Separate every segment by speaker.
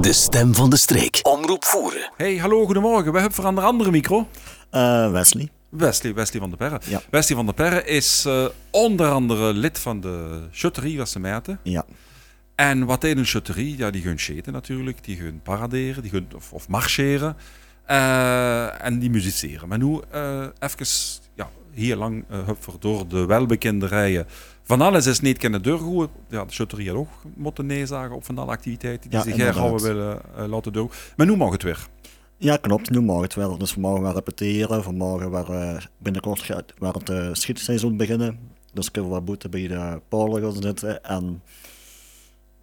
Speaker 1: De stem van de streek. Omroep voeren.
Speaker 2: Hey, hallo, goedemorgen. We hebben voor aan de andere micro.
Speaker 3: Eh, Wesley.
Speaker 2: Wesley, Wesley van der Perre.
Speaker 3: Ja.
Speaker 2: Wesley van der Perre is eh, onder andere lid van de Chutterie Wassemerten.
Speaker 3: Ja.
Speaker 2: En wat deed een Chutterie? Ja, die gaan scheten natuurlijk. Die gaan paraderen, die gaan, of, of marcheren. Eh, en die musiceren. Maar nu eh even ja, hier lang eh, hupfer door de welbekende rijen. Van alles is niet kennen doorgoed. Ja, de Chutterie had ook moeten neerzagen op van alle activiteiten die
Speaker 3: Ja,
Speaker 2: zich
Speaker 3: inderdaad.
Speaker 2: herhouden willen eh, laten doorgaan. Maar nu mag het weer.
Speaker 3: ja, klopt. Nu mag het wel. Dus we mogen weer repeteren. We mogen weer, eh, binnenkort gaat waar het eh, schietseizoen beginnen. Dus kunnen we wat boeten bij de Polen gaan zitten. En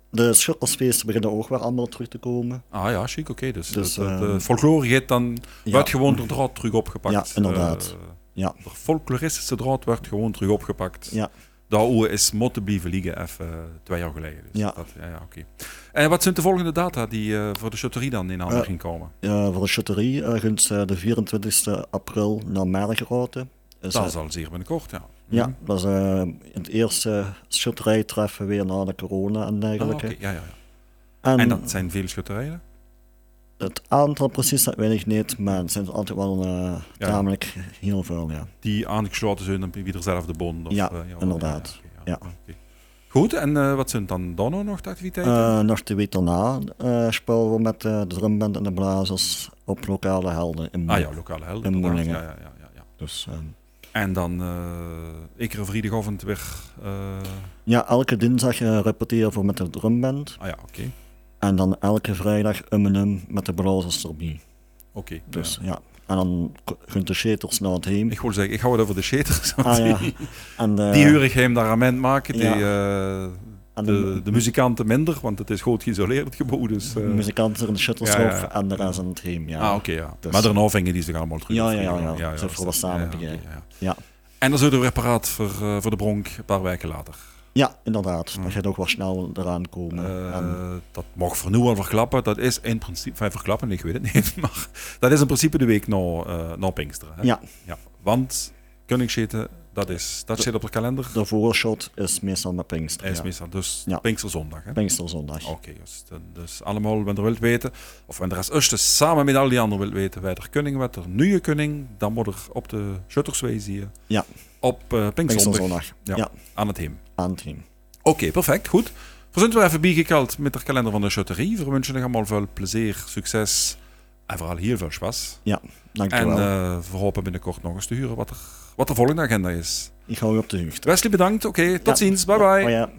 Speaker 3: de schuttelsfeesten beginnen ook weer allemaal terug te komen.
Speaker 2: Ah ja, chic, oké. Dus,
Speaker 3: Dus,
Speaker 2: de, de,
Speaker 3: eh,
Speaker 2: folklore heeft dan
Speaker 3: ja.
Speaker 2: wordt gewoon de draad terug opgepakt.
Speaker 3: Ja, inderdaad.
Speaker 2: Eh,
Speaker 3: Ja.
Speaker 2: de folkloristische draad werd gewoon terug opgepakt.
Speaker 3: Ja.
Speaker 2: Daarover is moeten blijven liggen even eh, twee jaar geleden. Dus
Speaker 3: Ja.
Speaker 2: Dat, ja, ja, oké. En wat zijn de volgende data die eh, voor de Chotterie dan in handen
Speaker 3: Eh,
Speaker 2: ging komen?
Speaker 3: Eh, voor de chutterie eh, gaan ze de 24 april naar Mergerouten. Dus,
Speaker 2: Dat
Speaker 3: eh,
Speaker 2: is al zeer binnenkort, ja. Mhm.
Speaker 3: ja, dat is eh, het eerste schutterijtreffen weer na de corona en
Speaker 2: Ah,
Speaker 3: dergelijke.
Speaker 2: oké, ja, ja, ja.
Speaker 3: En,
Speaker 2: En dat zijn veel schutterijen.
Speaker 3: het aantal precies, dat weet ik niet, maar het zijn altijd wel eh
Speaker 2: Ja.
Speaker 3: tamelijk heel veel, ja.
Speaker 2: die aangesloten zijn op ieder zelfde bond. Of,
Speaker 3: Ja,
Speaker 2: eh, wat-
Speaker 3: inderdaad.
Speaker 2: oké,
Speaker 3: Ja.
Speaker 2: oké. Goed, en eh, wat zijn dan dan nog de activiteiten?
Speaker 3: Eh, nog de week daarna eh, spelen we met eh, de drumband en de blazers op lokale helden in
Speaker 2: ah ja, lokale helden.
Speaker 3: in
Speaker 2: inderdaad. Ja,
Speaker 3: Moelingen.
Speaker 2: ja, ja, ja, ja.
Speaker 3: Dus, eh,
Speaker 2: En dan eh ik er vrijdagavond weer. eh,
Speaker 3: ja, elke dinsdag eh, repeteren we met de drumband
Speaker 2: ah ja, oké.
Speaker 3: en dan elke vrijdag um en um met de blazers erbij.
Speaker 2: Oké. nou
Speaker 3: Dus
Speaker 2: ja.
Speaker 3: ja, en dan k- gaan de sheters naar het heen.
Speaker 2: Ik wil zeggen, ik hou het over de sheters.
Speaker 3: Ah, ja.
Speaker 2: die,
Speaker 3: En, eh,
Speaker 2: die hurig hem daar aan men maken. Die,
Speaker 3: Ja.
Speaker 2: eh,
Speaker 3: en de,
Speaker 2: de, de muzikanten minder, want het is goed geïsoleerd gebouw. Dus, eh.
Speaker 3: de muzikanten er in de shuttles
Speaker 2: Ja, ja,
Speaker 3: op
Speaker 2: ja.
Speaker 3: en de rest aan het heen. Ja.
Speaker 2: Ah, oké, ja.
Speaker 3: Dus-
Speaker 2: Maar daarna vingen die zich allemaal terug.
Speaker 3: Ja,
Speaker 2: op
Speaker 3: ja, ja,
Speaker 2: vrijdagavond.
Speaker 3: ja. Ze
Speaker 2: dat is
Speaker 3: voor wat
Speaker 2: dus dat.
Speaker 3: samen
Speaker 2: oké,
Speaker 3: beginnen.
Speaker 2: ja.
Speaker 3: Ja.
Speaker 2: En dan zullen we weer paraat voor, eh, voor de Bronk een paar weken later.
Speaker 3: ja, inderdaad. Dat gaat ook wel snel eraan komen. En-
Speaker 2: Mm. Eh, dat mag voor nu al verklappen. Dat is in principe, enfin, verklappen, ik weet het niet, maar dat is in principe de week na, eh, na Pinksteren. Hè?
Speaker 3: Ja.
Speaker 2: ja. Want Koningseten, dat, is, dat zit op de kalender.
Speaker 3: De voorshot is meestal met Pinkster.
Speaker 2: is
Speaker 3: ja.
Speaker 2: meestal dus
Speaker 3: Ja.
Speaker 2: Pinksterzondag. Hè?
Speaker 3: Pinksterzondag.
Speaker 2: Oké, dus, dan- dus allemaal, wanneer je wilt weten, of wanneer als eerste samen met al die anderen wilt weten, wij er kunnen, wat er nu je kunnen, dan moet er op de Shuttersway zie je,
Speaker 3: Ja.
Speaker 2: op eh Pinksterzondag
Speaker 3: Pinksterzondag.
Speaker 2: Ja.
Speaker 3: Ja.
Speaker 2: aan het heem.
Speaker 3: aan het team.
Speaker 2: Oké, perfect, goed. We zijn weer even bijgekeld met de kalender van de Chotterie. We wensen je allemaal veel plezier, succes en vooral heel veel spas.
Speaker 3: Ja,
Speaker 2: En
Speaker 3: dankjewel.
Speaker 2: eh we hopen binnenkort nog eens te huren wat, er, wat de volgende agenda is.
Speaker 3: ik hou je op de hoogte.
Speaker 2: Wesley, bedankt. Oké, tot
Speaker 3: Ja.
Speaker 2: ziens. Bye bye.
Speaker 3: Oh ja.